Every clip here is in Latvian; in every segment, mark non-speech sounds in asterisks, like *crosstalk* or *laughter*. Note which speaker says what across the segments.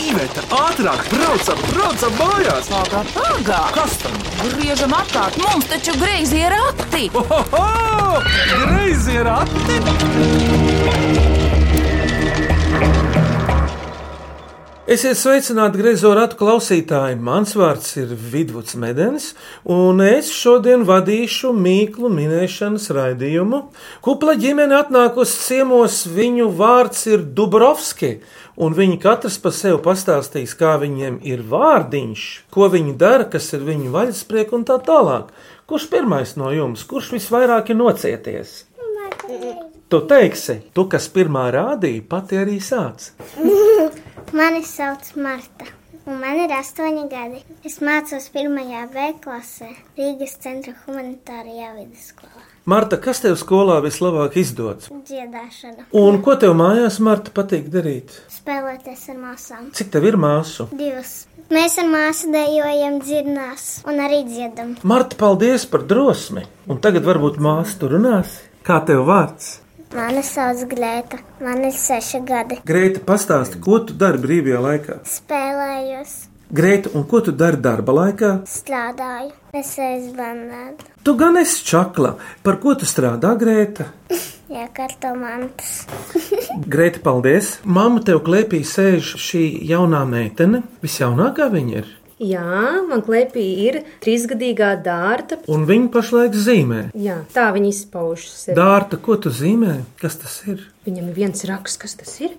Speaker 1: Iveta, ātrāk, braucam, braucam mājās!
Speaker 2: Pagā, pagā!
Speaker 1: Kas tam?
Speaker 2: Griežam apkārt, mums taču greizi ir akti!
Speaker 1: Ohoho! Greizi ir ati!
Speaker 3: Esiet sveicināti griezo ratu klausītāji. Mans vārds ir Vidvuds Medens, un es šodien vadīšu mīklu minēšanas raidījumu. Kupla ģimene atnākusi ciemos, viņu vārds ir Dubrovski, un viņi katrs pa sevi pastāstīs, kā viņiem ir vārdiņš, ko viņi dara, kas ir viņu vaļasprieks un tā tālāk. Kurš pirmais no jums, kurš visvairāk ir nocieties? Tu teiksi, tu, kas pirmā rādīja, pati arī sācis.
Speaker 4: Mani sauc Marta, un man ir astoņi gadi. Es mācos pirmajā B klasē Rīgas centra humanitārajā vidusskolā.
Speaker 3: Marta, kas tev skolā vislabāk izdodas?
Speaker 4: Dziedāšana,
Speaker 3: Un ko tev mājās, Marta, patīk darīt?
Speaker 4: spēlēties ar māsām.
Speaker 3: Cik tev ir māsu?
Speaker 4: Divas. Mēs ar māsu dejojam dzirnās un arī dziedam.
Speaker 3: Marta, paldies par drosmi! Un tagad varbūt māsa tur runās. Kā tev vārds?
Speaker 4: Mani sauc Glēta, man ir seši gadi.
Speaker 3: Greita, pastāsti, ko tu dari brīvajā laikā?
Speaker 4: Spēlējos,
Speaker 3: Greita, un ko tu dari darba laikā?
Speaker 4: strādāju, es aizbandēju.
Speaker 3: Tu gan esi čakla, par ko tu strādā, Greita?
Speaker 4: Jā, karto mantas.
Speaker 3: Greita, paldies! Mamma tev klēpī sēž šī jaunā meitene, visjaunākā viņa ir,
Speaker 5: Jā, man klēpī ir trīsgadīgā dārta.
Speaker 3: un viņa pašlaik zīmē.
Speaker 5: Jā, tā viņa izpaužas. sevi.
Speaker 3: Dārta, ko tu zīmē? Kas tas ir?
Speaker 5: Viņam ir viens raksts, kas tas ir?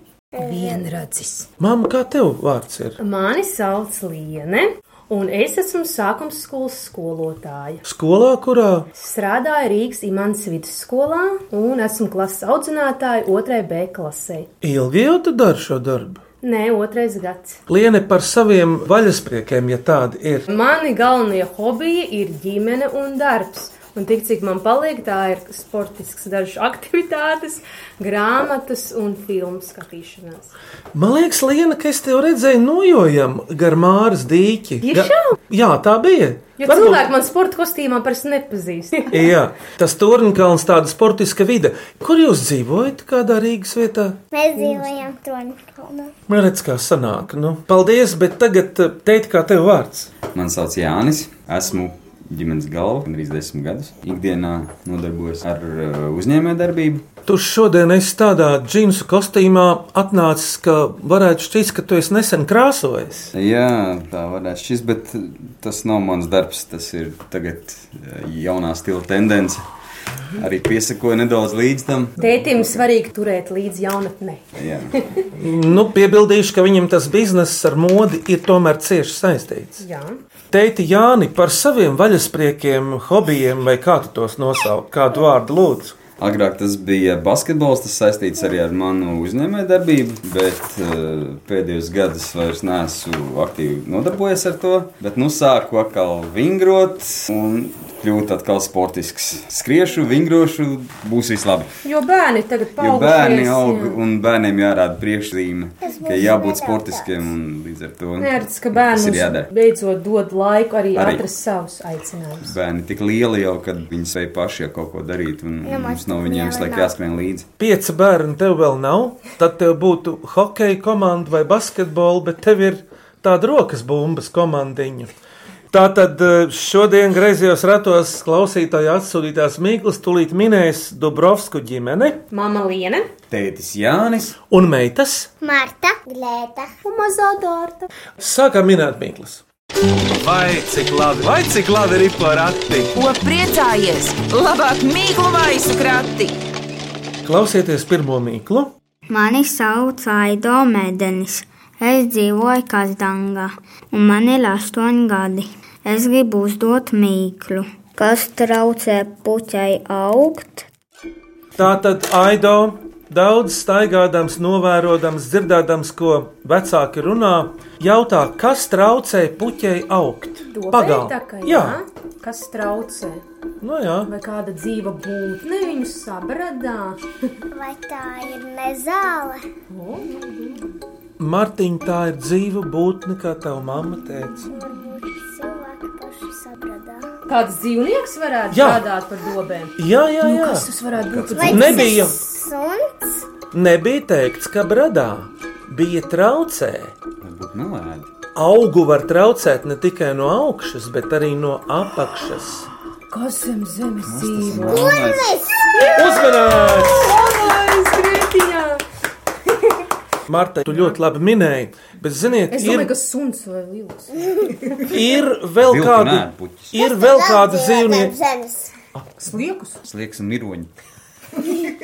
Speaker 5: Vienradzis.
Speaker 3: Mamma, kā tev vārds ir?
Speaker 5: Mani sauc Liene, un es esmu sākums skolas skolotāja.
Speaker 3: Skolā, kurā
Speaker 5: Strādāju Rīgas Imants vidusskolā un esmu klases audzinātāja otrai B klasē.
Speaker 3: Ilgi jau tu dari šo darbu.
Speaker 5: Nē, otrais gads.
Speaker 3: Liene par saviem vaļaspriekiem, ja tādi ir.
Speaker 5: Mani galvenie hobiji ir ģimene un darbs. Un tik cik man paliek, tā ir sportisks, dažs *laughs* aktivitātes, grāmatas un filmu skatīšanās.
Speaker 3: Man liekas, Liene, ka es te redzēju nojojam gar māras dīķi.
Speaker 5: Tiešām?
Speaker 3: jā, tā bija.
Speaker 5: Jo Varbūt... cilvēki man sporta kostīmā parasti
Speaker 6: *laughs*
Speaker 5: nepazīst.
Speaker 3: Jā, tas turnkalns tāda sportiska vide. Kur jūs dzīvojat? Kādā Rīgas vietā?
Speaker 4: Mēs dzīvojam Tronkalnā.
Speaker 3: Man redz, kā sanāk. Nu, paldies, bet tagad eh, teikt, kā tev vārds.
Speaker 6: Mani sauc Jānis. Esmu ģimenes galva, gandrīz desmit gadus. Ikdienā nodarbojos ar uh, uzņēmējdarbību.
Speaker 3: Tu šodien esi tādā džinsu kostīmā atnācis, ka varētu šķist, ka tu esi nesen krāsojies.
Speaker 6: Jā, tā varētu šis, bet tas nav mans darbs. Tas ir tagad uh, jaunā stila tendence. Arī piesakoju nedaudz līdz tam.
Speaker 5: Tētim svarīgi turēt līdzi jaunatnē.
Speaker 6: Jā.
Speaker 3: Nu, piebildīšu, ka viņam tas bizness ar modi ir tomēr cieši saistīts.
Speaker 5: Jā.
Speaker 3: Teiti Jāni par saviem vaļaspriekiem, hobijiem vai kā tu tos nosauc, kādu vārdu lūdzu.
Speaker 6: Agrāk tas bija basketbols, tas saistīts arī ar manu uzņēmējdarbību, bet uh, pēdējos gados vairs neesmu aktīvi nodarbojies ar to. Bet nu sāku atkal vingrot un kļūt atkal sportisks. Skriešu, vingrošu, būs viss labi.
Speaker 5: Jo bērni tagad
Speaker 6: Jo
Speaker 5: paaugušies.
Speaker 6: bērni aug
Speaker 5: jā.
Speaker 6: un bērniem jārāda priekšzīme,
Speaker 4: Es
Speaker 6: ka
Speaker 4: būšu
Speaker 6: jābūt
Speaker 4: nedaudz
Speaker 6: sportiskiem un līdz ar to
Speaker 5: Nērts, ka
Speaker 6: tas ir
Speaker 5: bērnam
Speaker 6: jādara.
Speaker 5: beidzot dod laiku arī,
Speaker 6: Arī.
Speaker 5: arī. atrast savus aicinājumus.
Speaker 6: Bērni tik lieli jau, kad viņi spēj paši jau kaut ko darīt, un
Speaker 4: Nu,
Speaker 6: mums
Speaker 4: mums
Speaker 6: nav viņiem visu laiku
Speaker 4: jāvienā.
Speaker 6: jāskrien līdzi.
Speaker 3: Pieci bērni tev vēl nav, tad tev būtu hokeja komanda vai basketbola, bet tev ir tāda rokas bumbas komandiņa. Tātad eh, šodien griezījos ratos klausītāju atsūtītās Mīklas, tūlīt minēs Dubrovsku ģimeni
Speaker 5: Mama Liene.
Speaker 6: Tētis Jānis.
Speaker 3: un meitas.
Speaker 4: Marta, Glēta.
Speaker 5: Un mazā dārta.
Speaker 3: Sākam minēt Mīklas.
Speaker 1: Vai cik labi, vai cik labi ir par ati!
Speaker 2: Ko priecājies? Labāk mīklu maisu krati!
Speaker 3: Klausieties pirmo mīklu.
Speaker 7: Mani sauc Aido Mēdenis. Es dzīvoju Kazdangā, un man ir astoņi gadi. Es gribu uzdot mīklu. Kas traucē puķai augt?
Speaker 3: Tātad Aido daudz staigādams, novērojams, dzirdēdams, ko vecāki runā, jautā, kas traucē puķei augt. Pagal.
Speaker 5: Pagaidā.
Speaker 3: jā,
Speaker 5: Kas traucē?
Speaker 3: nu jā.
Speaker 5: Vai kāda dzīva būtne viņu sabradā?
Speaker 4: Vai tā ir nezāle?
Speaker 3: Martiņa, tā ir dzīva būtne, kā tava mamma teica.
Speaker 4: Varbūt cilvēki paši saprata.
Speaker 5: Kāds dzīvnieks varētu
Speaker 3: Jā.
Speaker 5: strādāt par dobēm? Nu,
Speaker 3: Jā, jā, jā.
Speaker 5: Kas tas varētu būt?
Speaker 3: Nebija,
Speaker 4: Suns,
Speaker 3: nebija teikts, ka bradā, bija traucējis.
Speaker 6: Varbūt nelēdi.
Speaker 3: Augu var traucēt ne tikai no augšas, bet arī no apakšas.
Speaker 5: Kas zem zemes dzīvo?
Speaker 6: Melnais.
Speaker 3: Uzmanīgs!
Speaker 5: Labais, Grieķijā!
Speaker 3: Marta, tu ļoti labi minēji, bet, ziniet,
Speaker 5: Es
Speaker 3: ir,
Speaker 5: domāju, ka suns vai līvs.
Speaker 3: ir vēl
Speaker 6: Vilki
Speaker 3: kādi,
Speaker 6: nē, puķis.
Speaker 3: ir vēl kādi dzīvnieki,
Speaker 4: Zemes.
Speaker 5: Sliekus.
Speaker 6: Slieks un miroņi.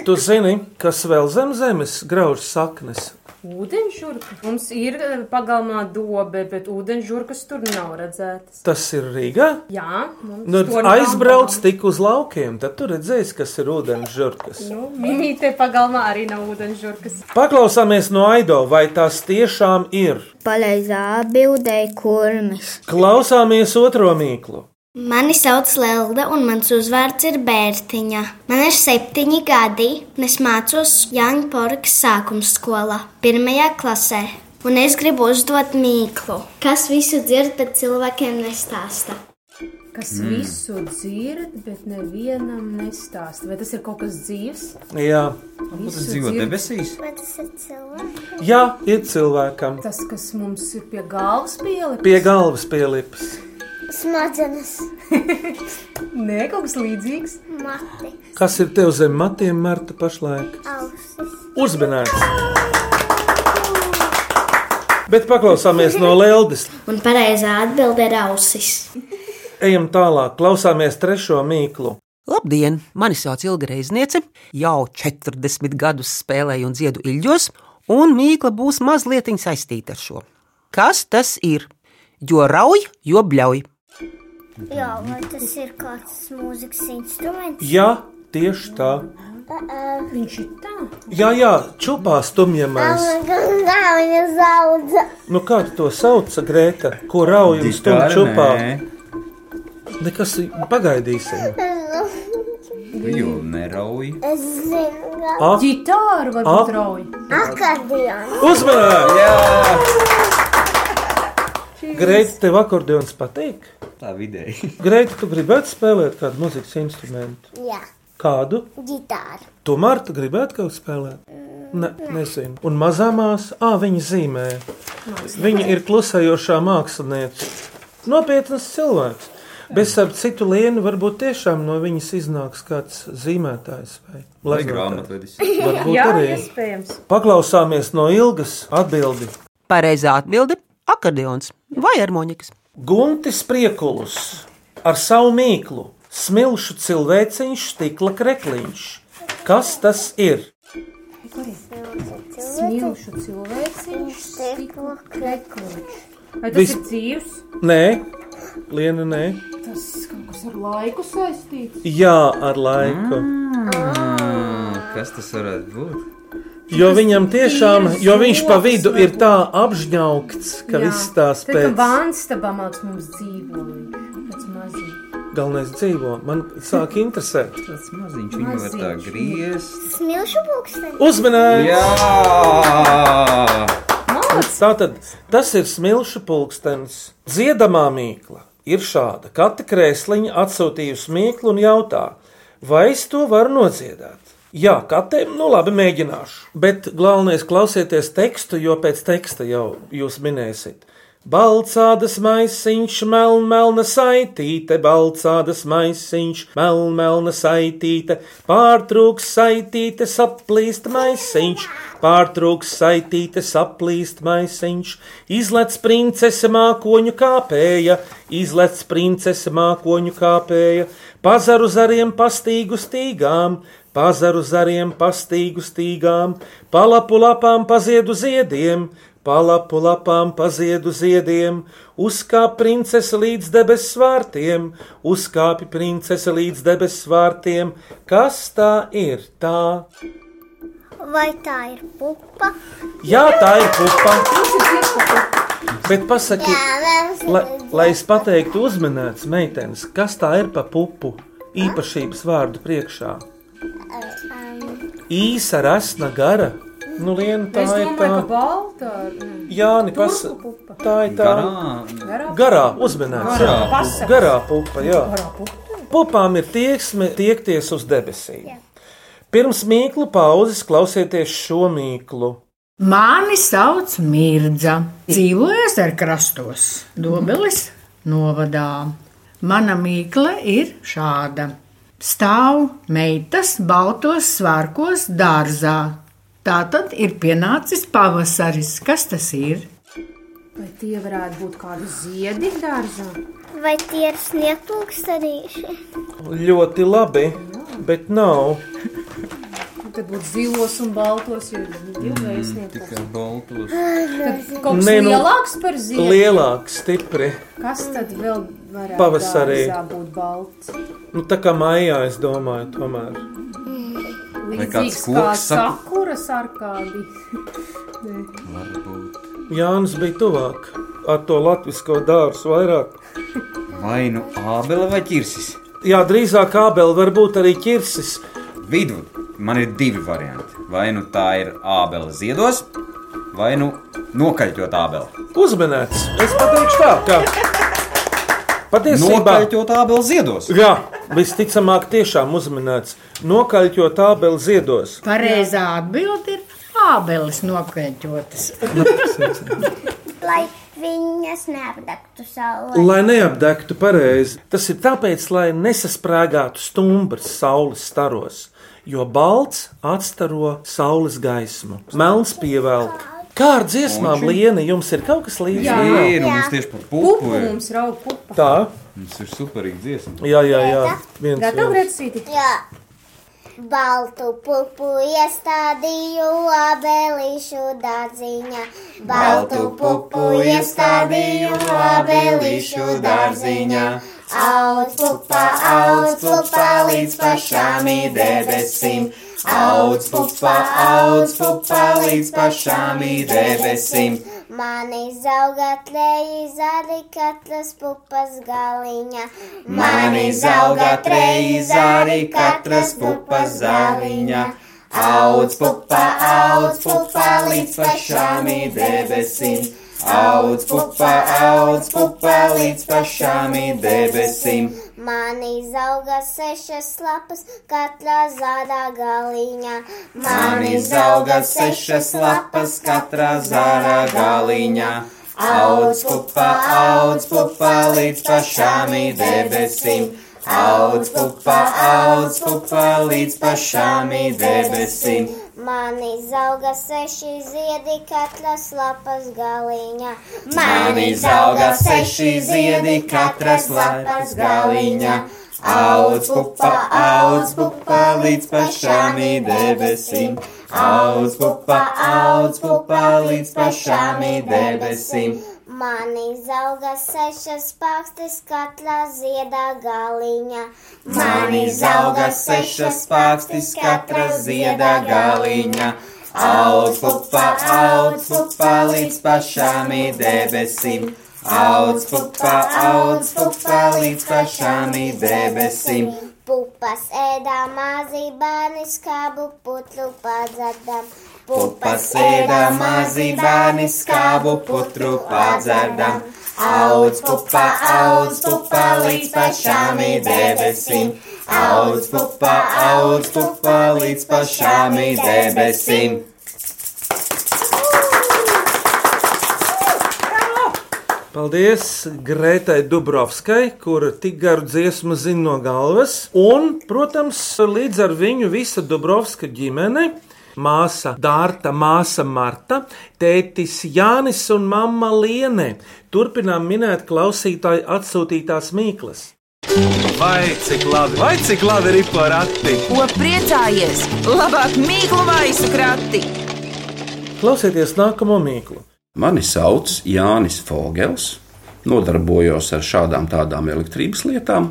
Speaker 3: Tu zini, kas vēl zem zemes grauž saknes?
Speaker 5: Ūdenžurka. Mums ir eh, pagalmā dobe, bet ūdenžurkas tur nav redzētas.
Speaker 3: Tas ir Rīgā.
Speaker 5: Jā, mums
Speaker 3: Nu,
Speaker 5: tur nav
Speaker 3: aizbrauc
Speaker 5: pagalmā.
Speaker 3: tik uz laukiem, tad tu redzēsi, kas ir ūdens žurkas.
Speaker 5: Nu, Mimīte pagalmā arī nav ūdenžurkas.
Speaker 3: Paklausāmies no Aido, vai tas tiešām ir.
Speaker 7: Pareizā atbildēja kurmis.
Speaker 3: Klausāmies otro mīklu.
Speaker 4: Mani sauc Lelde, un mans uzvārds ir Bērtiņa. Man ir septiņi gadi, un es mācos Jāņporkas sākuma skolā, pirmajā klasē. Un es gribu uzdot mīklu. Kas visu dzird, bet cilvēkiem nestāsta?
Speaker 5: Kas mm. visu dzird, bet nevienam nestāsta. Vai tas ir kaut kas dzīves?
Speaker 3: Jā,
Speaker 6: Tas
Speaker 5: Visu
Speaker 6: dzīvo
Speaker 5: dzird.
Speaker 6: debesīs.
Speaker 4: Vai tas ir cilvēks?
Speaker 3: Jā ir cilvēkam
Speaker 5: Tas, kas mums ir pie galvas pielikt,
Speaker 3: pie galvas pielips.
Speaker 4: Smadzenes,
Speaker 5: *laughs* nē, kaut kas līdzīgs.
Speaker 4: mati,
Speaker 3: Kas ir tev zem matiem, Marta, pašlaik?
Speaker 4: ausis.
Speaker 3: Uzmanīgs! Bet paklausāmies no Leldes.
Speaker 4: Un pareizā atbilde ir ausis.
Speaker 3: Ejam tālāk, klausāmies trešo mīklu.
Speaker 8: Labdien, mani sauc Ilga Reizniece. Jau 40 gadus spēlēju un dziedu ilģos, un mīkla būs mazliet saistīta ar šo. Kas tas ir? Jo rauj, jo bļauj.
Speaker 4: Jā, vai tas ir kāds mūzikas instruments?
Speaker 3: Jā, tieši tā.
Speaker 5: Viņš ir tā.
Speaker 3: Jā, jā, čupā stumjamais.
Speaker 4: Kā viņa zaudza?
Speaker 3: Nu, kā tu to sauc, Grēta? Ko rauj un stumj čupā? Nekas, pagaidīsim.
Speaker 6: Jo nerauj.
Speaker 4: Es zinu,
Speaker 3: A,
Speaker 5: Gitāra vai
Speaker 3: Ap.
Speaker 5: draugi?
Speaker 4: akordions.
Speaker 3: uzmanīgi!
Speaker 6: Jā.
Speaker 3: Grēta, tev akordeons patīk?
Speaker 6: Tā vidēji.
Speaker 3: Grēta, tu gribētu spēlēt kādu mūzikas instrumentu?
Speaker 4: Jā,
Speaker 3: Kādu?
Speaker 4: ģitāra.
Speaker 3: Tu, Marta, gribētu kaut ko spēlēt? Ne, nezinu. Un mazā māsā, ah, viņa zīmē. Viņa ir klusējošā māksliniece. Nopietnas cilvēks. Bez ap citu lienu varbūt tiešām no viņas iznāks kāds zīmētājs vai
Speaker 6: Lai
Speaker 3: glezniecības
Speaker 6: grāmatvedis.
Speaker 3: Varbūt
Speaker 5: *laughs* Jā,
Speaker 3: arī.
Speaker 5: iespējams.
Speaker 3: Paklausāmies no ilgas atbildi.
Speaker 8: Pareizā atbilde - akordeons vai harmonikas.
Speaker 3: Guntis Priekulus ar savu mīklu, smilšu cilvēciņš, stikla krekliņš. Kas tas ir?
Speaker 5: Smilšu cilvēciņš, stikla krekliņš. Vai tas
Speaker 3: Vis-
Speaker 5: Vis... ir dzīves?
Speaker 3: Nē, Liena, nē.
Speaker 5: Tas kaut kas ar laiku saistīts.
Speaker 3: Jā, ar laiku.
Speaker 6: Kas tas varētu būt?
Speaker 3: Jo viņam tiešām,
Speaker 5: ir
Speaker 3: jo viņš pa
Speaker 5: zobs
Speaker 3: vidu
Speaker 5: vai
Speaker 3: ir tā apžņaukts, ka viss tās
Speaker 5: Tad,
Speaker 3: pēc
Speaker 5: kad vānstabā māc mums dzīvo, viņš pēc mazī.
Speaker 3: galvenais dzīvo. Man sāk interesēt.
Speaker 6: Tas maziņš. Viņu var tā
Speaker 5: Maziņš.
Speaker 6: griezt.
Speaker 4: Smilšu pūksteni.
Speaker 3: Uzmanīgi!
Speaker 6: Jā.
Speaker 3: Tātad tas ir smilšu pulkstenis. Dziedamā mīkla ir šāda. Katra krēsliņa atsūtījusi mīklu un jautā, vai es to varu nodziedāt. Jā, katram, nu labi, mēģināšu. Bet galvenais klausieties tekstu, jo pēc teksta jau jūs minēsiet. Balcādas maisiņš, melna, melna saitīte, balcādas maisiņš, melna, melna saitīte, pārtrūks saitīte, saplīst maisiņš, pārtrūks saitīte, saplīst maisiņš, izlec princese mākoņu kāpēja, izlec princese mākoņu kāpēja, pazaru zariem pastīgu stīgām, pazaru zariem pastīgu stīgām, palapu lapām paziedu ziediem, palapu lapām paziedu ziediem, uzkāpa princese līdz debesu vārtiem, uzkāpa princese līdz debesu vārtiem. Kas tā ir? Tā?
Speaker 4: Vai tā ir pupa?
Speaker 3: Jā, tā ir pupa. Bet pasaki, lai, lai es pateiktu uzmanēts meitenes, kas tā ir pa pupu īpašības vārdu priekšā? Īsa, rasna, gara. Nu, lien, tā
Speaker 5: Es
Speaker 3: ir
Speaker 5: domāju,
Speaker 3: tā.
Speaker 5: ka balta. mm,
Speaker 3: Jāni, pas...
Speaker 5: Turku pupa.
Speaker 3: tā ir tā
Speaker 6: Garā. nu,
Speaker 5: Garā
Speaker 3: garā uzmanība.
Speaker 6: Garā.
Speaker 3: Garā pupa, jā. Pupām ir tieksme tiekties uz debesīm. Pirms mīklu pauzes klausieties šo mīklu.
Speaker 9: Mani sauc Mirdza. Dzīvoju Zerkrastos, Dobelis novadā. Mana mīkla ir šāda. Stāv meitas baltos svārkos dārzā. Tā tad ir pienācis pavasaris. Kas tas ir?
Speaker 5: Vai tie varētu būt kādi ziedi dārzā?
Speaker 4: Vai tie ir sniegpūkstadīši?
Speaker 3: Ļoti labi, bet nav.
Speaker 5: Nu, Tad būtu zilos un baltos, jo viņi ir vēstnieki.
Speaker 6: Kā baltos.
Speaker 5: Tad kaut kas
Speaker 3: Mm, Nē, nu,
Speaker 5: lielāks par ziedi.
Speaker 3: Lielāks, stipri.
Speaker 5: Kas tad vēl varētu
Speaker 3: Pavasarī.
Speaker 5: dārzā būt balts?
Speaker 3: Nu, tā kā mājā, es domāju, tomēr.
Speaker 5: Līdzīgs
Speaker 6: kāds
Speaker 5: kā
Speaker 6: koks saku-
Speaker 5: sakuras ar kādi.
Speaker 3: Jānis bija tuvāk ar to latviešu dārstu vairāk.
Speaker 6: Vai nu ābele vai ķirsis?
Speaker 3: Jā, drīzāk abeli, varbūt arī ķirsis.
Speaker 6: Vidu man ir divi varianti. Vai nu tā ir ābele ziedos, vai nu nokaļķot ābeli.
Speaker 3: Uzmanīts, es pateikšu tā, ka *laughs* patiesībā.
Speaker 6: Nokaļķot ābeli ziedos.
Speaker 3: Jā, visticamāk, tiešām uzmanīts. Nokaļķot abeli ziedos.
Speaker 9: Pareizā atbilde ir ābeles nokreķotas.
Speaker 4: Lai viņas neapdegtu saulē.
Speaker 3: Lai neapdegtu pareizi, tas ir tāpēc, lai nesasprāgātu stumbrs saules staros, jo balts atstaro saules gaismu, melns pievelk. Kā ar dziesmām, Liena, jums ir kaut kas
Speaker 6: Jā,
Speaker 3: līdzīgs?
Speaker 6: ir nu, mums tieši par
Speaker 5: Pupu
Speaker 6: pupu. ir.
Speaker 5: mums rauga pupa.
Speaker 3: Tā,
Speaker 6: Mums ir superīga dziesma.
Speaker 3: jā, jā, jā. Viens,
Speaker 5: Gatavi
Speaker 3: viens.
Speaker 5: redzēt,
Speaker 4: Jā. Baltu pupu iestādīju abelīšu dārziņā. Baltu pupu iestādīju abelīšu dārziņā. Auc pupa, auc pupa līdz pašām debesīm. Auc pupa, auc pupa līdz pašām debesīm. Man izauga treji zari katras pupas galiņā. Man izauga treji zari katras pupas zaliņā. Auc pupa, auc pupa līdz pašām debesīm. Auc pupa, auc pupa līdz pašām debesīm. Man izauga sešas lapas katrā zārā galiņā. Man izauga sešas lapas katrā zārā galiņā. Auc pupa, auc pupa līdz pašām debesīm. Auc pupa, auc pupa līdz pašām debesīm. Man izauga seši ziedi katras lapas galiņā. Man izauga seši ziedi katras lapas galiņā. Auc pupa, auc pupa līdz pašām debesīm. Auc pupa, auc pupa līdz pašām debesīm. Man izauga sešas pakstes katrā ziedā galiņā. Man izauga sešas pakstes katrā ziedā galiņā. Auc pupa, auc pupa līdz pašām debesīm. Auc pupa, auc pupa līdz pašām debesīm. Pupas ēdā mazi bērni skābu putru padzardam. Pupas ēdā mazi bērni skābu putru padzardam. Auc pupa, auc pupa līdz pašām debesīm. Auc pupa, auc pupa līdz pašām debesīm.
Speaker 3: Paldies Grētai Dubrovskai, kura tik garu dziesmu zina no galvas. Un, protams, līdz ar viņu visa Dubrovska ģimene. Māsa Dārta, māsa Marta, tētis Jānis un mamma Liene. Turpinām minēt klausītāju atsūtītās mīklas.
Speaker 1: Vai cik labi, vai cik labi ir porakti?
Speaker 2: Ko priecājies? Labāk mīklu maisu krati!
Speaker 3: Klausieties nākamo mīklu.
Speaker 10: Mani sauc Jānis Fogels, nodarbojos ar šādām tādām elektrības lietām,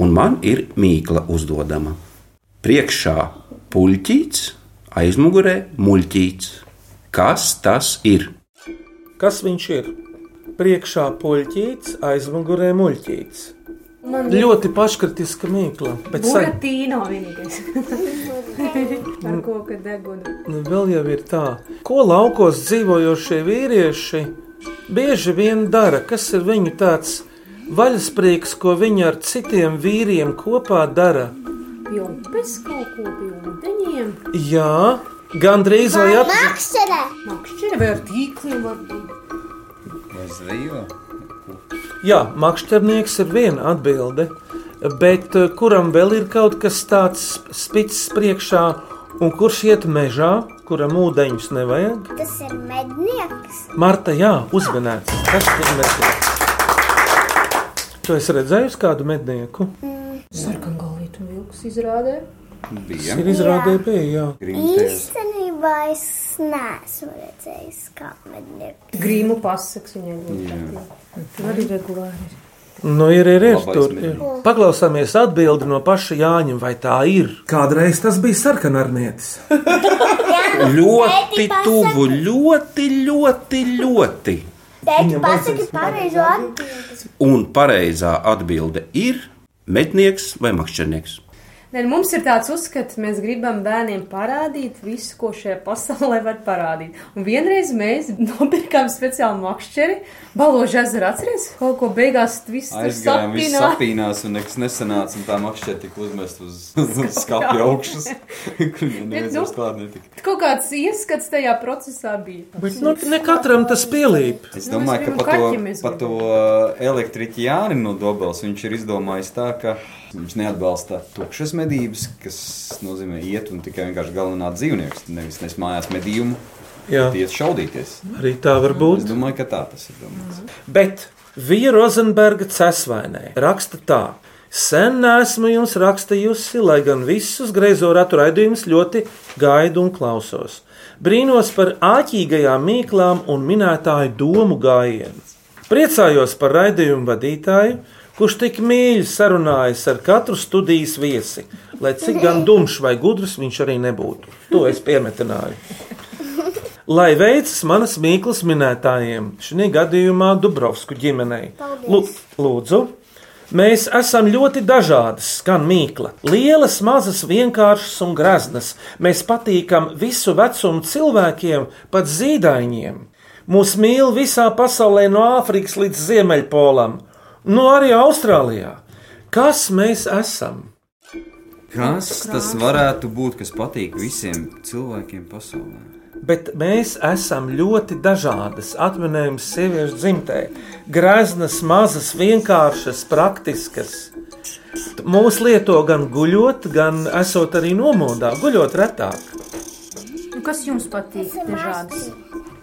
Speaker 10: un man ir mīkla uzdodama. Priekšā puļķīts, aizmugurē muļķīts. Kas tas ir?
Speaker 3: Kas viņš ir? Priekšā puļķīts, aizmugurē muļķīts.
Speaker 5: Man
Speaker 3: Ļoti paškritiska mīkla, bet sa-
Speaker 5: Buratīno vienīgais. *laughs* Ar ko, ka degunu.
Speaker 3: Nu, Vēl jau ir tā, ko laukos dzīvojošie vīrieši bieži vien dara, kas ir viņu tāds vaļasprieks, ko viņi ar citiem vīriem kopā dara.
Speaker 5: Pilnpes kaut ko pie ūdeņiem.
Speaker 3: Jā, Gan drīz vai atpakaļ.
Speaker 4: Makšķerē!
Speaker 5: Makšķira vai ar tīkli varbūt?
Speaker 6: Vai zvejā?
Speaker 3: Jā, makšķernieks ir viena atbilde, bet eh, kuram vēl ir kaut kas tāds spits priekšā, un kurš iet mežā, kuram ūdeņus nevajag?
Speaker 4: Tas ir mednieks.
Speaker 3: Marta, jā, uzmanīts. Tas ir mednieks. Tu esi redzējusi kādu mednieku?
Speaker 5: Sarkangalvītu vilks izrādē.
Speaker 6: Bija.
Speaker 3: Tas ir izrādē bija, jā.
Speaker 6: Grimtēs.
Speaker 4: Īstenībā es neesmu redzējis, kā mednieks.
Speaker 5: Grīmu pasaks viņai ļoti patīk. Tur arī regulāri. ir.
Speaker 3: Nu, ir, ir, ir
Speaker 6: Labais
Speaker 3: tur. Ir.
Speaker 6: mednieks.
Speaker 3: Paklausāmies atbildi no paša Jāņa, vai tā ir? Kādreiz tas bija sarkanarnietis.
Speaker 10: Ļoti
Speaker 4: Tēti, pasaka-
Speaker 10: tuvu, ļoti, ļoti, ļoti.
Speaker 4: Tēti, pasaki pareizo atbildi.
Speaker 10: Un pareizā atbilde ir metnieks vai makšķernieks.
Speaker 5: Nē, nu, mums ir tāds uzskats, mēs gribam bērniem parādīt visu, ko šajā pasaulē var parādīt. Un vienreiz mēs nopirkām speciālu makšķeri, baložu ezeru atceries, kaut ko beigās viss tur
Speaker 6: Aizgājām, viss
Speaker 5: sapināt.
Speaker 6: sapīnās, un nekas nesanāca, un tā makšķerē tika uzmest uz, uz skapja
Speaker 5: *laughs*
Speaker 6: augšas, kur neviens
Speaker 5: nu-
Speaker 6: uz klāt netika.
Speaker 5: Kaut kāds ieskats tajā procesā bija.
Speaker 3: Bet nu, ne katram tas pielīp.
Speaker 6: Es
Speaker 5: Nu, mēs
Speaker 6: domāju,
Speaker 5: gribam
Speaker 6: ka par to,
Speaker 5: kaķi mēs
Speaker 6: pa to eh, elektriķi Jāni no Dobels viņš ir izdomājis tā, ka viņš neatbalsta tukšas medības, kas nozīmē iet un tikai vienkārši galināt dzīvniekus, nevis nes mājās medījumu,
Speaker 3: Jā,
Speaker 6: tiesa šaudīties.
Speaker 3: arī tā var
Speaker 6: Es
Speaker 3: būt.
Speaker 6: domāju, ka tā tas ir domāts.
Speaker 5: Mhm.
Speaker 3: Bet Vija Rozenberga cesvainē raksta tā. Sen neesmu jums rakstījusi, lai gan visus greizo ratu raidījumus ļoti gaidu un klausos. Brīnos par āķīgajām mīklām un minētāju domu gājienu. Priecājos par raidījumu vadītāju, kurš tik mīļi sarunājas ar katru studijas viesi, lai cik gan dumšs vai gudrs viņš arī nebūtu. To es piemetināju lai veicas manas mīklas minētājiem, šajā gadījumā Dubrovsku ģimenei. Lu- Lūdzu, mēs esam ļoti dažādas, kā mīkla. Lielas, mazas, vienkāršas un graznas. Mēs patīkam visu vecumu cilvēkiem, pat zīdaiņiem. Mūs mīl visā pasaulē, no Āfrikas līdz Ziemeļpolam, no arī Austrālijā. Kas mēs esam?
Speaker 6: Kas tas varētu būt, kas patīk visiem cilvēkiem pasaulē?
Speaker 3: Bet mēs esam ļoti dažādas atminējums sieviešu dzimtē. Graznas, mazas, vienkāršas, praktiskas. T- Mūs lieto gan guļot, gan esot arī nomodā, guļot retāk.
Speaker 5: Nu, kas jums patīk? Dažādas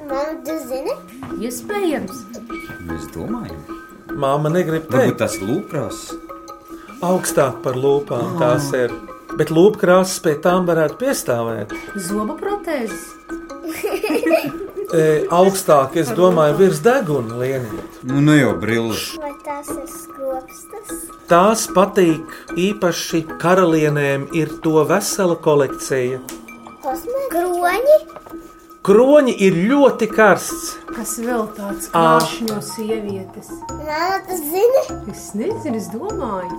Speaker 4: Man tas zini?
Speaker 5: iespējams.
Speaker 6: Mēs domājam.
Speaker 3: Māma negrib
Speaker 6: Varbūt
Speaker 3: teikt,
Speaker 6: tas ir lūkrās.
Speaker 3: augstāk par lūpām tās ir. Bet lūpkrāsas pie tām varētu piestāvēt.
Speaker 5: Zobu protēzes.
Speaker 3: E, augstāk, es domāju, virs deguna līnija.
Speaker 6: Nu, ne jau brilles.
Speaker 4: Vai tas ir skropstas?
Speaker 3: Tās patīk īpaši karalienēm, ir to vesela kolekcija.
Speaker 4: Kroņi?
Speaker 3: Kroņi ir ļoti karsts.
Speaker 5: Kas vēl tāds kāršņo sievietes?
Speaker 4: Man tas zini?
Speaker 5: Es nezinu, es domāju.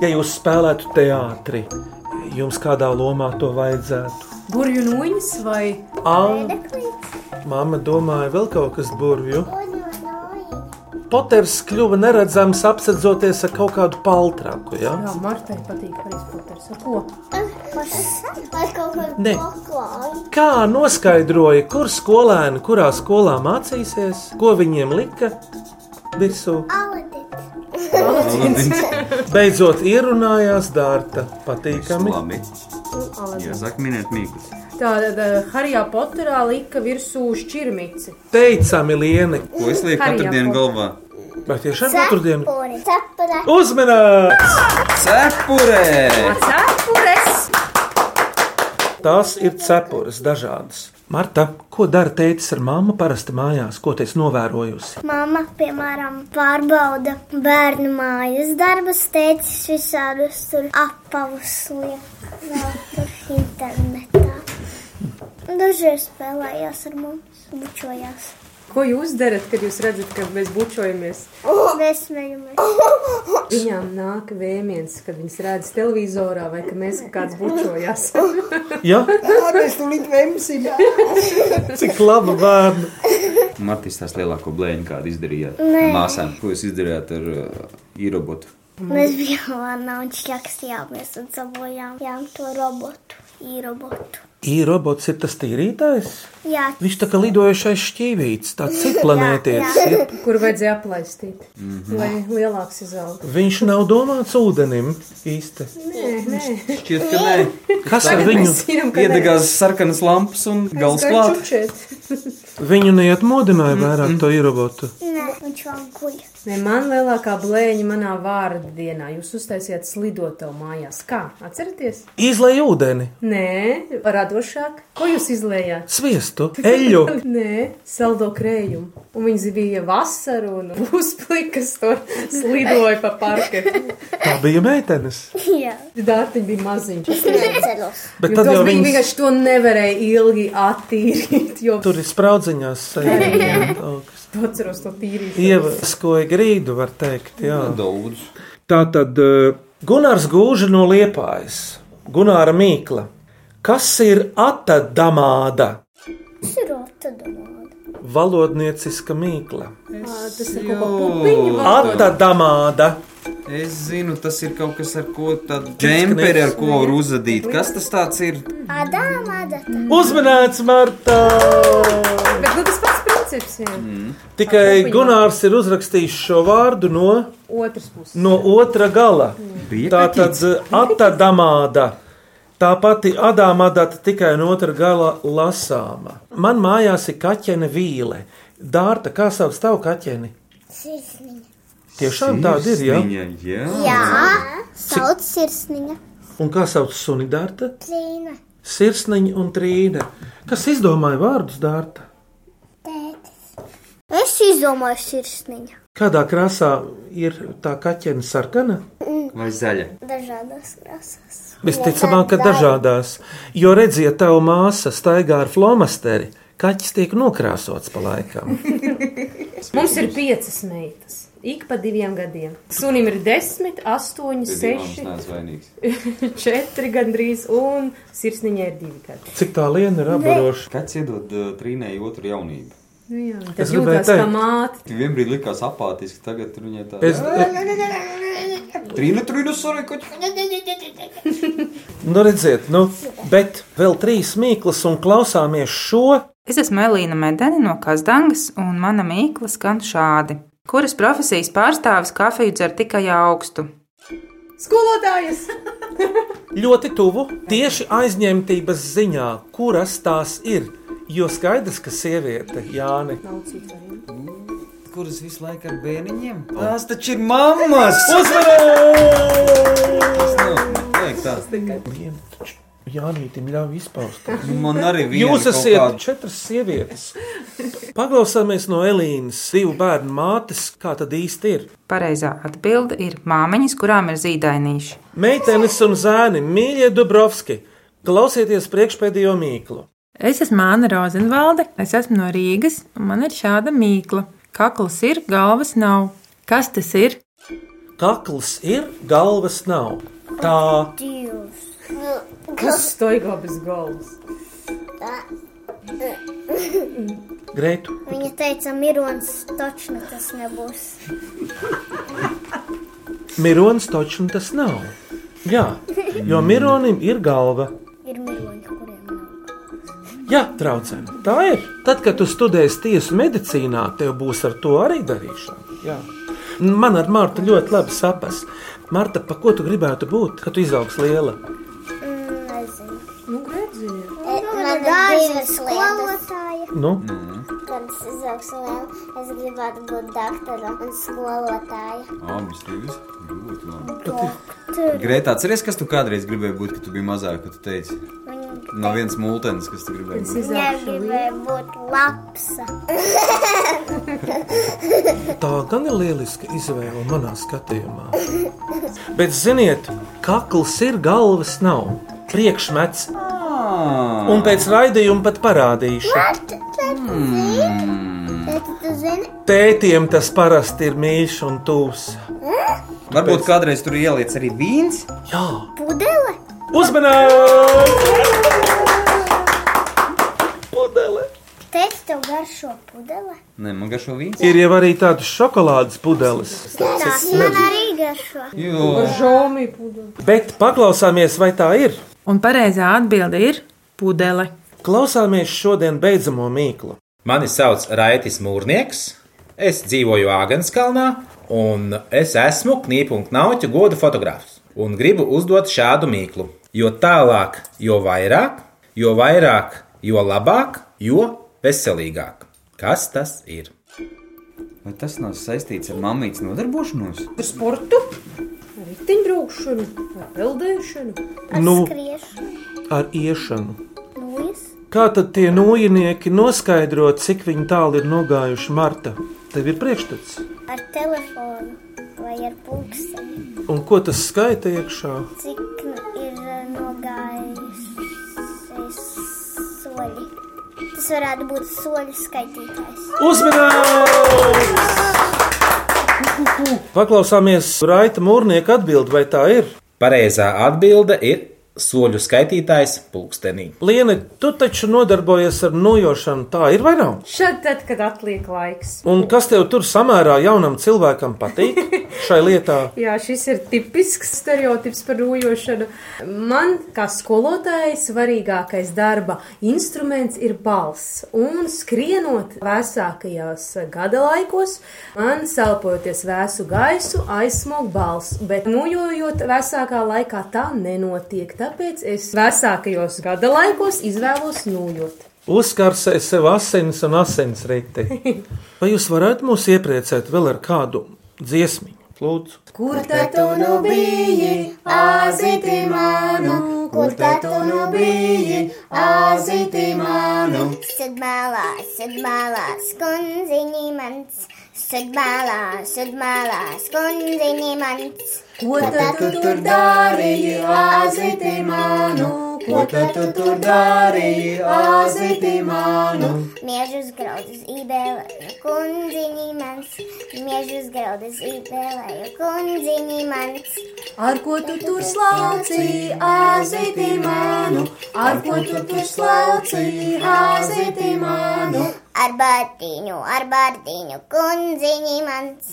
Speaker 3: Ja jūs spēlētu teātrī, jums kādā lomā to vajadzētu?
Speaker 5: Burju nuņas vai
Speaker 3: Ai, māma domāja, vēl kaut kas burvju.
Speaker 4: Kroņi.
Speaker 3: Poters kļuva neredzams, apsedzoties ar kaut kādu paltraku. Ja?
Speaker 5: jā, Martai patīk Harijs Poters. Ar ko?
Speaker 4: Vai kaut kur
Speaker 3: Nē.
Speaker 4: paklāj?
Speaker 3: Kā noskaidroja, kur skolēni, kurā skolā mācīsies, ko viņiem lika virsū?
Speaker 4: Aladit.
Speaker 3: Beidzot, ierunājās Dārta. Patīkami.
Speaker 6: Labi. Jāsāk minēt mīklas.
Speaker 5: Mm, Tātad Harijā Poterā lika virsū šķirmici.
Speaker 3: Teicami, Lieni,
Speaker 6: Ko es lieku
Speaker 5: Arī
Speaker 6: katru dienu
Speaker 5: jāpalīdz.
Speaker 6: galvā?
Speaker 3: vai tiešām katru dienu?
Speaker 4: Cepura.
Speaker 3: Uzmanīgs!
Speaker 6: Cepurē!
Speaker 5: Cepures!
Speaker 3: Tās ir cepures dažādas. Marta, ko dara tētis ar mammu parasti mājās, ko teiks novērojusi?
Speaker 4: Māma, piemēram, pārbauda bērnu mājas darbus, teicis visādus tur apavus liek vēl tur internetā. Dažreiz spēlējās ar mums, bučojās.
Speaker 5: Ko jūs darat, kad jūs redzat, ka mēs bučojamies?
Speaker 4: Mēs smējamies.
Speaker 5: Viņām nāk vēmiens, kad viņas redz televizorā vai ka mēs kaut kāds bučojās. *laughs*
Speaker 3: Jā, *laughs* cik laba bērna.
Speaker 6: Martīs tās lielāko blēņu, kādu izdarījāt
Speaker 4: Nē.
Speaker 6: māsām. Ko jūs izdarījāt ar uh, īrobotu?
Speaker 4: Mēs bijām vannā un šķakstījāmies un sabojām jām to robotu, īrobotu.
Speaker 3: Īrobots ir tas tīrītājs.
Speaker 4: Jā,
Speaker 3: Viņš tā kā lidojošais šķīvīts, tāds citplanētietis. ir.
Speaker 5: Kur vajadzēja aplaistīt,
Speaker 3: Mhm.
Speaker 5: mm -hmm. lai lielāks izaugtu.
Speaker 3: Viņš nav domāts ūdenim īsti.
Speaker 5: Nē, *laughs* nē,
Speaker 6: Šķiet, ka nē.
Speaker 3: Kas ar viņu?
Speaker 5: mēs zinām, ka
Speaker 6: Iedegās sarkanas lampas un gals klāt.
Speaker 5: klāt.
Speaker 3: Viņu neatmodināja vairāk to īrobotu.
Speaker 4: nē, viņš vēl guļ.
Speaker 5: Ne, man lielākā blēņa manā vārda dienā. Jūs uztaisiet slidotavu mājās. Kā? Atceraties?
Speaker 3: Izlai ūdeni,
Speaker 5: Nē, radošāk. Ko jūs izlējāt?
Speaker 3: sviestu, eļu.
Speaker 5: *laughs* Nē, saldo krējumu. Un viņas bija vasara un *laughs* puspli, kas tur slidoja pa parketu.
Speaker 3: Tā bija meitenes.
Speaker 4: Jā,
Speaker 5: Dārtiņi bija maziņš.
Speaker 4: neceros.
Speaker 3: Bet
Speaker 5: Jo
Speaker 3: tad
Speaker 5: tos
Speaker 3: jau
Speaker 5: viņi
Speaker 3: viņas
Speaker 5: vienkārši to nevarēja ilgi attīrīt, jo
Speaker 3: tur ir
Speaker 5: *laughs*
Speaker 3: spraudziņās sēdējām kaut kas.
Speaker 5: tu atceros to tīrīt.
Speaker 3: Ievaskoja grīdu, var teikt, jā.
Speaker 6: Daudz.
Speaker 3: Tā tad Gunārs Gūža no Liepājas, Gunāra Mīkla. Kas ir atadamāda?
Speaker 4: Sirota domāda.
Speaker 3: Valodnieciska mīkla.
Speaker 5: Tas ir kaut kā pupiņu valoda.
Speaker 3: Atadamāda.
Speaker 6: Es zinu, tas ir kaut kas ar ko tādu džemperi, ar ko var uzadīt. Kas tas tāds ir?
Speaker 4: Adām, adata.
Speaker 3: Uzmanīts, Marta!
Speaker 5: Bet nu, tas pats princips ir.
Speaker 3: Tikai Gunārs ir uzrakstījis šo vārdu no,
Speaker 5: Otrs puses.
Speaker 3: no otra gala.
Speaker 10: Bija
Speaker 3: Tā tad eh, atadamāda. Tā pati adāmādata tikai no otra gala lasāma. Man mājās ir kaķene vīle. Dārta, kā sauc tavu kaķeni?
Speaker 4: Sirsniņa.
Speaker 3: Tiešām tāda ir, jā.
Speaker 6: Viņa, jā.
Speaker 4: Jā, sauc sirsniņa.
Speaker 3: Un kā sauc suni Dārta?
Speaker 4: Plīna.
Speaker 3: Sirsniņa un trīne. Kas izdomāja vārdus Dārta?
Speaker 4: Tētis. Es izdomāju sirsniņa.
Speaker 3: Kādā krāsā ir tā kaķene sarkana?
Speaker 6: Vai zaļa?
Speaker 4: Dažādās krāsās.
Speaker 3: Visticamāk, ka dažādās. Jo redziet, tev māsa staigā ar flomasteri. Kaķis tiek nokrāsots pa laikam.
Speaker 5: Mums ir piecas meitas. Ik pa diviem gadiem. Sunim ir desmit, astoņi,
Speaker 6: Seši.
Speaker 5: seši,
Speaker 6: Nāc vainīgs.
Speaker 5: *laughs* četri gandrīz, un sirsniņai ir divi gadi.
Speaker 3: Cik tā liena ir apbaroša?
Speaker 6: Kāds iedod uh, trīnēji otru jaunību?
Speaker 5: Nu, jā,
Speaker 3: Es
Speaker 5: tas
Speaker 3: gribēju
Speaker 5: jūtas kā
Speaker 3: teikt.
Speaker 5: māte.
Speaker 6: Vienbrīd likās apātiski, tagad tur viņai tā.
Speaker 3: Es, e,
Speaker 6: Trīna, trīna, sorry, koķi.
Speaker 3: nu, redziet, nu, bet vēl trīs mīklas un klausāmies šo.
Speaker 11: Es esmu Elīna Medeni no Kazdangas, un mana mīkla skan šādi. Kuras profesijas pārstāvis kafiju dzer tikai augstu?
Speaker 5: Skolotājas!
Speaker 3: Ļoti tuvu, tieši aizņemtības ziņā, kuras tās ir. Jo skaidrs, ka sieviete, Jāni,
Speaker 6: Kuras visu laiku ar bērniņiem? Tās taču ir mammas! Nu,
Speaker 3: uzvarēs!
Speaker 6: Uzmanīgi!
Speaker 3: Jānītim ļauj izpausties.
Speaker 6: Nu, Man arī bija.
Speaker 3: Jūs esat kādu... četras sievietes. Paklausāmies no Elīnas, divu bērnu mātes, kā tad īsti ir.
Speaker 11: Pareizā atbilde ir māmiņas, kurām ir zīdainīši.
Speaker 3: Meitenes un zēni, mīļie Dubrovski, klausieties priekšpēdējo mīklu.
Speaker 12: Es esmu Māna Rozenvalde, es esmu no Rīgas, un man ir šāda mīkla. Kakls ir, galvas nav. Kas tas ir?
Speaker 3: Kakls ir, galvas nav. Tā
Speaker 4: Divs.
Speaker 5: Kas stoigā bez galvas?
Speaker 3: greitu.
Speaker 4: Viņa teica, Mirons, točno tas nebūs.
Speaker 3: Mirons taču tas nav. Jā, jo Mironim ir galva.
Speaker 4: Ir miroņi, kuriem nav.
Speaker 3: Jā, traucēm. Tā ir. Tad, kad tu studēsi tiesu medicīnā, tev būs ar to arī darīšana. Jā. Man ar Martu ļoti labi saprast. Marta, pa ko tu gribētu būt, kad tu izaugs liela?
Speaker 4: Mm, Nezinu. E,
Speaker 5: Nu, redziet,
Speaker 4: Man dārza ir skolotāja.
Speaker 3: Nu,
Speaker 4: Kad es izaugšu liela, es gribētu būt doktora un skolotāja.
Speaker 6: Abas divas. Ļoti labi.
Speaker 4: Doktor.
Speaker 6: Grētā, atceries, kas tu kādreiz gribēji būt, kad tu biji mazāka, kad tu teici? No vienas multenes, kas tu gribēji būt.
Speaker 4: Viņa gribēja būt lapsa.
Speaker 3: tā gan ir lieliska izvēle manā skatījumā. Bet, ziniet, kakls ir galvas nav. Priekšmets,
Speaker 6: Ah,
Speaker 3: un pēc raidījuma pat parādīšu.
Speaker 4: Tēti, tu zini? Tēti, tu zini?
Speaker 3: Tētiem tas parasti ir mīļš un tūs.
Speaker 6: Varbūt kādreiz tur ieliec arī vīns.
Speaker 3: Jā,
Speaker 4: Pudele?
Speaker 3: uzmanīgi! Pudele!
Speaker 4: Tēti, tev garšo pudele?
Speaker 6: Nē, man garšo vīns.
Speaker 3: Ir jau arī tādas šokolādes pudeles.
Speaker 4: Tas man arī garšo.
Speaker 6: Jo.
Speaker 5: žomi pudu.
Speaker 3: Bet paklausāmies, vai tā ir.
Speaker 12: Un pareizā atbilde ir
Speaker 13: pudele.
Speaker 3: Klausāmies šodien beidzamo mīklu.
Speaker 6: Mani sauc Raitis Mūrnieks, es dzīvoju Āgānskalnā, un es esmu knipu un knauķu godu fotografs. Un gribu uzdot šādu mīklu. Jo tālāk, jo vairāk, jo vairāk, jo labāk, jo veselīgāk. Kas tas ir?
Speaker 14: Vai tas nav saistīts ar mammītes nodarbošanos?
Speaker 15: Par sportu, riteņbraukšanu, ar peldēšanu.
Speaker 3: Nu, ar iešanu. Kā tad tie nojinieki noskaidro, cik viņi tālu ir nogājuši Marta? Tev ir priekšstats.
Speaker 4: Ar telefonu vai ar pulksteni.
Speaker 3: Un ko tas skaita iekšā?
Speaker 4: Cik ir eh, nogājušies soļi? Tas varētu būt soļu skaitītājs.
Speaker 3: Uzmanības! Paklausāmies Raita Mūrnieka atbild, vai tā ir?
Speaker 6: Pareizā atbilde ir soļu skaitītājs pulkstenī.
Speaker 3: Liene, tu taču nodarbojies ar nojošanu, tā ir vai nav?
Speaker 15: Šad tad, kad atliek laiks.
Speaker 3: Un kas tev tur samērā jaunam cilvēkam patīk šai lietā?
Speaker 15: Jā, šis ir tipisks stereotips par rojošanu. Man, kā skolotājai, svarīgākais darba instruments ir balss. Un skrienot vēsākajos gada laikos, man selpojoties vēsu gaisu, aizsmog balss. Bet nojojot vēsākā laikā, tā nenotiek. Tāpēc es vēsākajos gada laikos izvēlos nojot.
Speaker 3: Uzkarsē sev asins un asins rīti. Vai jūs varētu mūs iepriecēt vēl ar kādu dziesmu? Lūdzu,
Speaker 4: Kur tad tu nu biji, azīti manu? Kur tad tu nu biji, azīti manu? Sudmalā, sudmalā, skundziņi mans. Sudmalā, sudmalā, skundziņi mans. Ko tad tu tur darīji, azīti manu?
Speaker 5: Ko tad tu tur darīji, azīti manu?
Speaker 4: Miežus graudas ībēlēju kundziņi mans, miežus graudas ībēlēju kundziņi mans.
Speaker 5: Ar ko tu tur slauci, azīti manu? Ar ko tu tur slauci, azīti manu?
Speaker 4: Ar bārtiņu, ar bārtiņu kundziņi mans,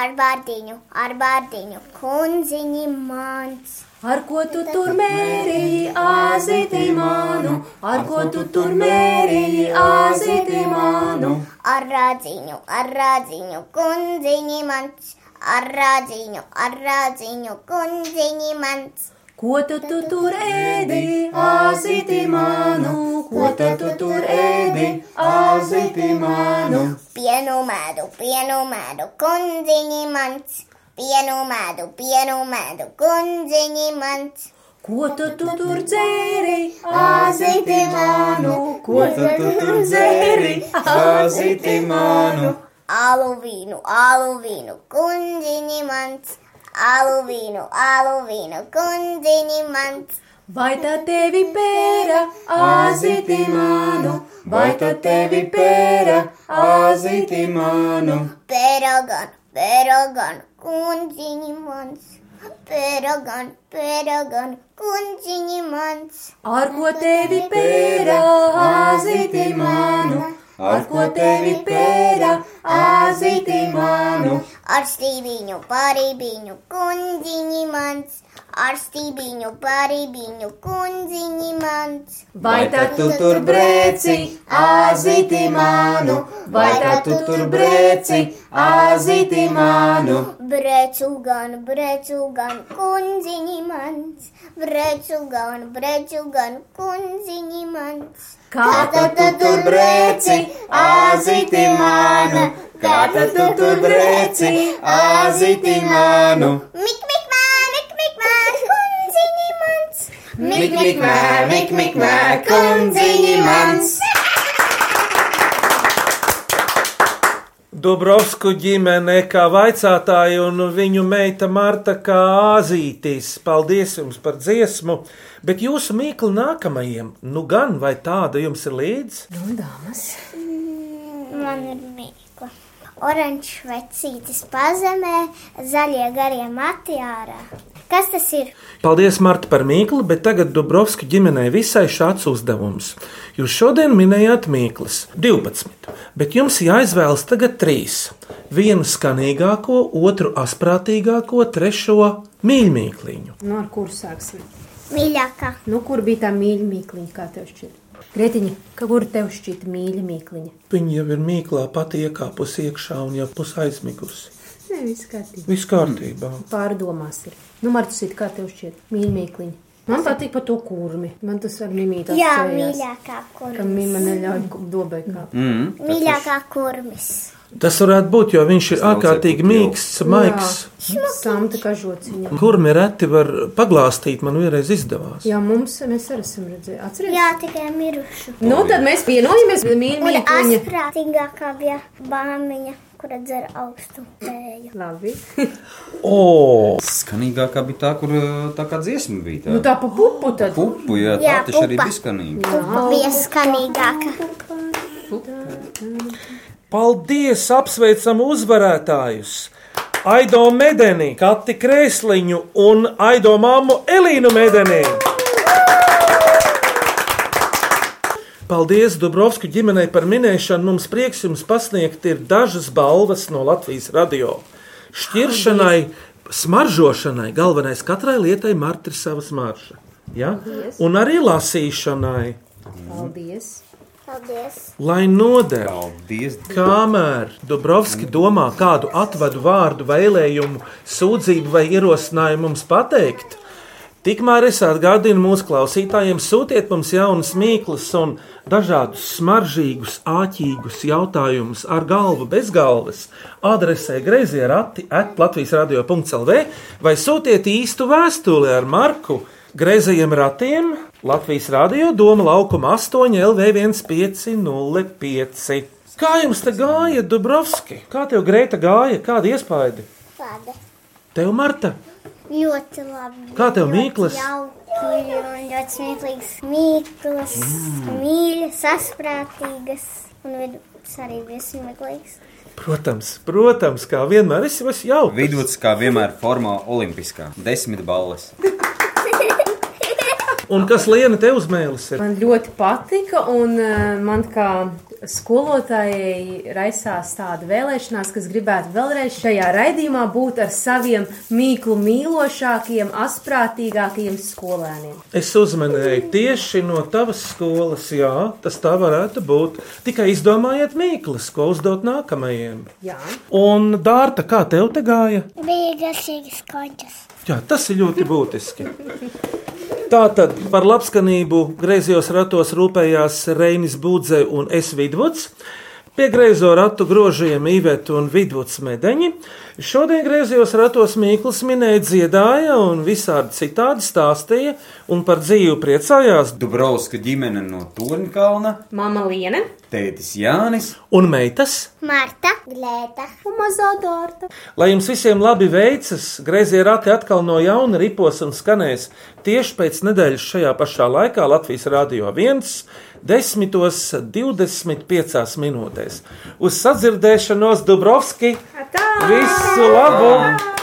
Speaker 4: ar bārtiņu, ar bārtiņu kundziņi mans.
Speaker 5: Ar ko tu tur mērīji, azīti manu? Ar ko tu tur mērīji, azīti manu?
Speaker 4: Ar rādziņu, ar rādziņu kundziņi mans, ar rādziņu, ar rādziņu kundziņi mans.
Speaker 5: Ko tu, tu tur ēdi, azīti manu? Ko tad tu tur ēdi, azīti manu?
Speaker 4: Pienu mēdu, pienu mēdu, kundziņi mans, pienu mēdu, pienu mēdu, kundziņi mans.
Speaker 5: Ko tu, tu tur dzēri, azīti manu? Ko tad tu tur dzēri, azīti manu?
Speaker 4: Aluvīnu, aluvīnu, kundziņi mans, aluvīnu, aluvīnu, kundziņi mans.
Speaker 5: Vai tā tevi pēra, azīti manu? Vai tā tevi pēra, azīti manu?
Speaker 4: Peragan, peragan, kundziņi mans, peragan, peragan, kundziņi mans.
Speaker 5: Ar ko tevi pēra, azīti manu? Ar ko tevi pēra, azīti manu?
Speaker 4: Ar stīviņu, pārībiņu, kundziņi mans, ar stīviņu, pārībiņu, kundziņi mans.
Speaker 5: Vai tā tu tur brēci, azīti manu? Vai tā tu tur brēci, azīti manu?
Speaker 4: Brecu gan, brecu gan, kundziņi mans, brecu gan, brecu gan, kundziņi mans.
Speaker 5: Kā tad tu tur brēci, azīti manu? Kā tad tu tur brēci, azīti manu?
Speaker 4: Kundziņi mans,
Speaker 5: Mik, mik, mē, mik, mik, mē, kundziņi mans!
Speaker 3: Dobrovsku ģimene kā vaicātāja un viņu meita Marta kā āzītīs. Paldies jums par dziesmu, bet jūsu mīklu nākamajiem, nu gan vai tāda jums ir līdzi?
Speaker 15: Nu, dāmas.
Speaker 4: Man ir mīkla. Oranžs vecītis pazemē, zaļie garie mati ārā. Kas tas ir?
Speaker 3: Paldies, Marta, par mīklu, bet tagad Dubrovska ģimenei visai šāds uzdevums. Jūs šodien minējāt mīklas 12, bet jums jāizvēlas tagad 3. Vienu skanīgāko, otru asprātīgāko, trešo mīļmīkliņu.
Speaker 15: Nu, ar kur sāksim?
Speaker 16: Mīļākā.
Speaker 5: Nu, kur bija tā mīļa mīkliņa, kā tev šķiet? Gretiņa, kur tev šķiet mīļa mīkliņa?
Speaker 3: Viņa jau ir mīklā pati iekāpusi iekšā un jau pus aizmigusi.
Speaker 5: Nē, viss kārtībā.
Speaker 3: Viss kārtībā.
Speaker 5: Pārdomās ir. Nu, Marcīt, kā tev šķiet mīļa mīkliņa? Man patīk par to kurmi. Man tas ar mimītā
Speaker 16: Jā,
Speaker 5: sējās.
Speaker 16: mīļākā
Speaker 5: Ka mīma
Speaker 16: kurmis.
Speaker 5: neļauj dobēt kā.
Speaker 3: Mm.
Speaker 16: Mīļākā kurmis.
Speaker 3: Tas varētu būt, jo viņš ir ārkārtīgi mīksts, maigs.
Speaker 5: Samta kā žociņa.
Speaker 3: Kurmi reti var paglāstīt, man vienreiz izdevās.
Speaker 5: Jā, mums mēs arī esam redzējuši. Atceries?
Speaker 16: Jā, tikai mirušu.
Speaker 5: Nu, tad mēs vienojamies,
Speaker 16: Un
Speaker 5: mīļākā.
Speaker 16: asprātīgākā bija bāmiņa, kura dzer augstu vēju.
Speaker 5: Labi. *laughs*
Speaker 3: Oh.
Speaker 6: Skanīgākā bija tā, kur ā, tā kā dziesma bija. Tā.
Speaker 5: Nu, tā pa pupu tad.
Speaker 6: Pupu, jā, tā
Speaker 16: Jā,
Speaker 6: taču arī
Speaker 16: pupa.
Speaker 6: bija skanīga.
Speaker 16: Pupa bija skanīgāka.
Speaker 3: Paldies! Apsveicam uzvarētājus! Aido Medeni, Kati Krēsliņu un Aido māmu Elīnu Medeni! Paldies Dubrovsku ģimenei par minēšanu. Mums prieks jums pasniegt ir dažas balvas no Latvijas radio. Šķiršanai, smaržošanai, galvenais katrai lietai marta ir sava smarža. Ja?
Speaker 5: Paldies.
Speaker 3: Un arī lasīšanai,
Speaker 5: Paldies.
Speaker 16: Paldies.
Speaker 3: lai nodevu. Kamēr Dubrovski domā kādu atvadu vārdu, vēlējumu, sūdzību vai ierosinājumu mums pateikt, tikmēr es atgādinu mūsu klausītājiem, sūtiet mums jaunas mīklas un dažādus smaržīgus, āķīgus jautājumus ar galvu bez galvas. Adresē grazījā rati at Latvijas radio.clv vai sūtiet īstu vēstuli ar Marku. Grēzējiem ratiem Latvijas Rādio Doma laukuma 8 LV1505. Kā jums te gāja, Dubrovski? Kā tev grēta gāja? Kāda iespaidi?
Speaker 16: Labi.
Speaker 3: Tev, Marta,
Speaker 16: Ļoti labi.
Speaker 3: Kā tev
Speaker 16: Ļoti
Speaker 3: Mīklas?
Speaker 16: Jauki un ļoti smieklīgs. Mīklas,
Speaker 3: Mm.
Speaker 16: mīļas, asprātīgas. Un vidus arī bija smieklīgs.
Speaker 3: protams, protams, kā vienmēr, es esmu jauks.
Speaker 6: Vidus kā vienmēr formā olimpiskā. Desmit balles.
Speaker 3: Un kas liena tev uzmēlis? Ir?
Speaker 5: Man ļoti patika, un eh, man kā skolotājai raisās tāda vēlēšanās, kas gribētu vēlreiz šajā raidījumā būt ar saviem mīklu mīlošākajiem, asprātīgākajiem skolēniem.
Speaker 3: Es uzmanēju tieši no tavas skolas, jā, tas tā varētu būt. Tikai izdomājiet mīklas, ko uzdot nākamajiem.
Speaker 5: Jā.
Speaker 3: Un, Dārta, kā tev te gāja?
Speaker 16: Bija garšīgi skoņķis.
Speaker 3: Jā, tas ir ļoti būtiski. Tātad par labskanību griezījos ratos rūpējās Reinis Būdze un Es Vidvuds. Pie griezo ratu grožiem īvētu un vidvuds medeņi. Šodien griezījos ratos Mīkls minēja dziedāja un visādi citādi stāstīja un par dzīvu priecājās.
Speaker 6: Dubrovska ģimene no Tornkalna,
Speaker 5: Mama Liene,
Speaker 6: tētis Jānis.
Speaker 3: Un meitas?
Speaker 16: Marta, Glēta
Speaker 5: un mazā dārta.
Speaker 3: Lai jums visiem labi veicas, griezie rati atkal no jauna ripos un skanēs tieši pēc nedēļas šajā pašā laikā Latvijas Rādio 1, 10.25 minūtēs. Uz sadzirdēšanos Dubrovski! Visu labu!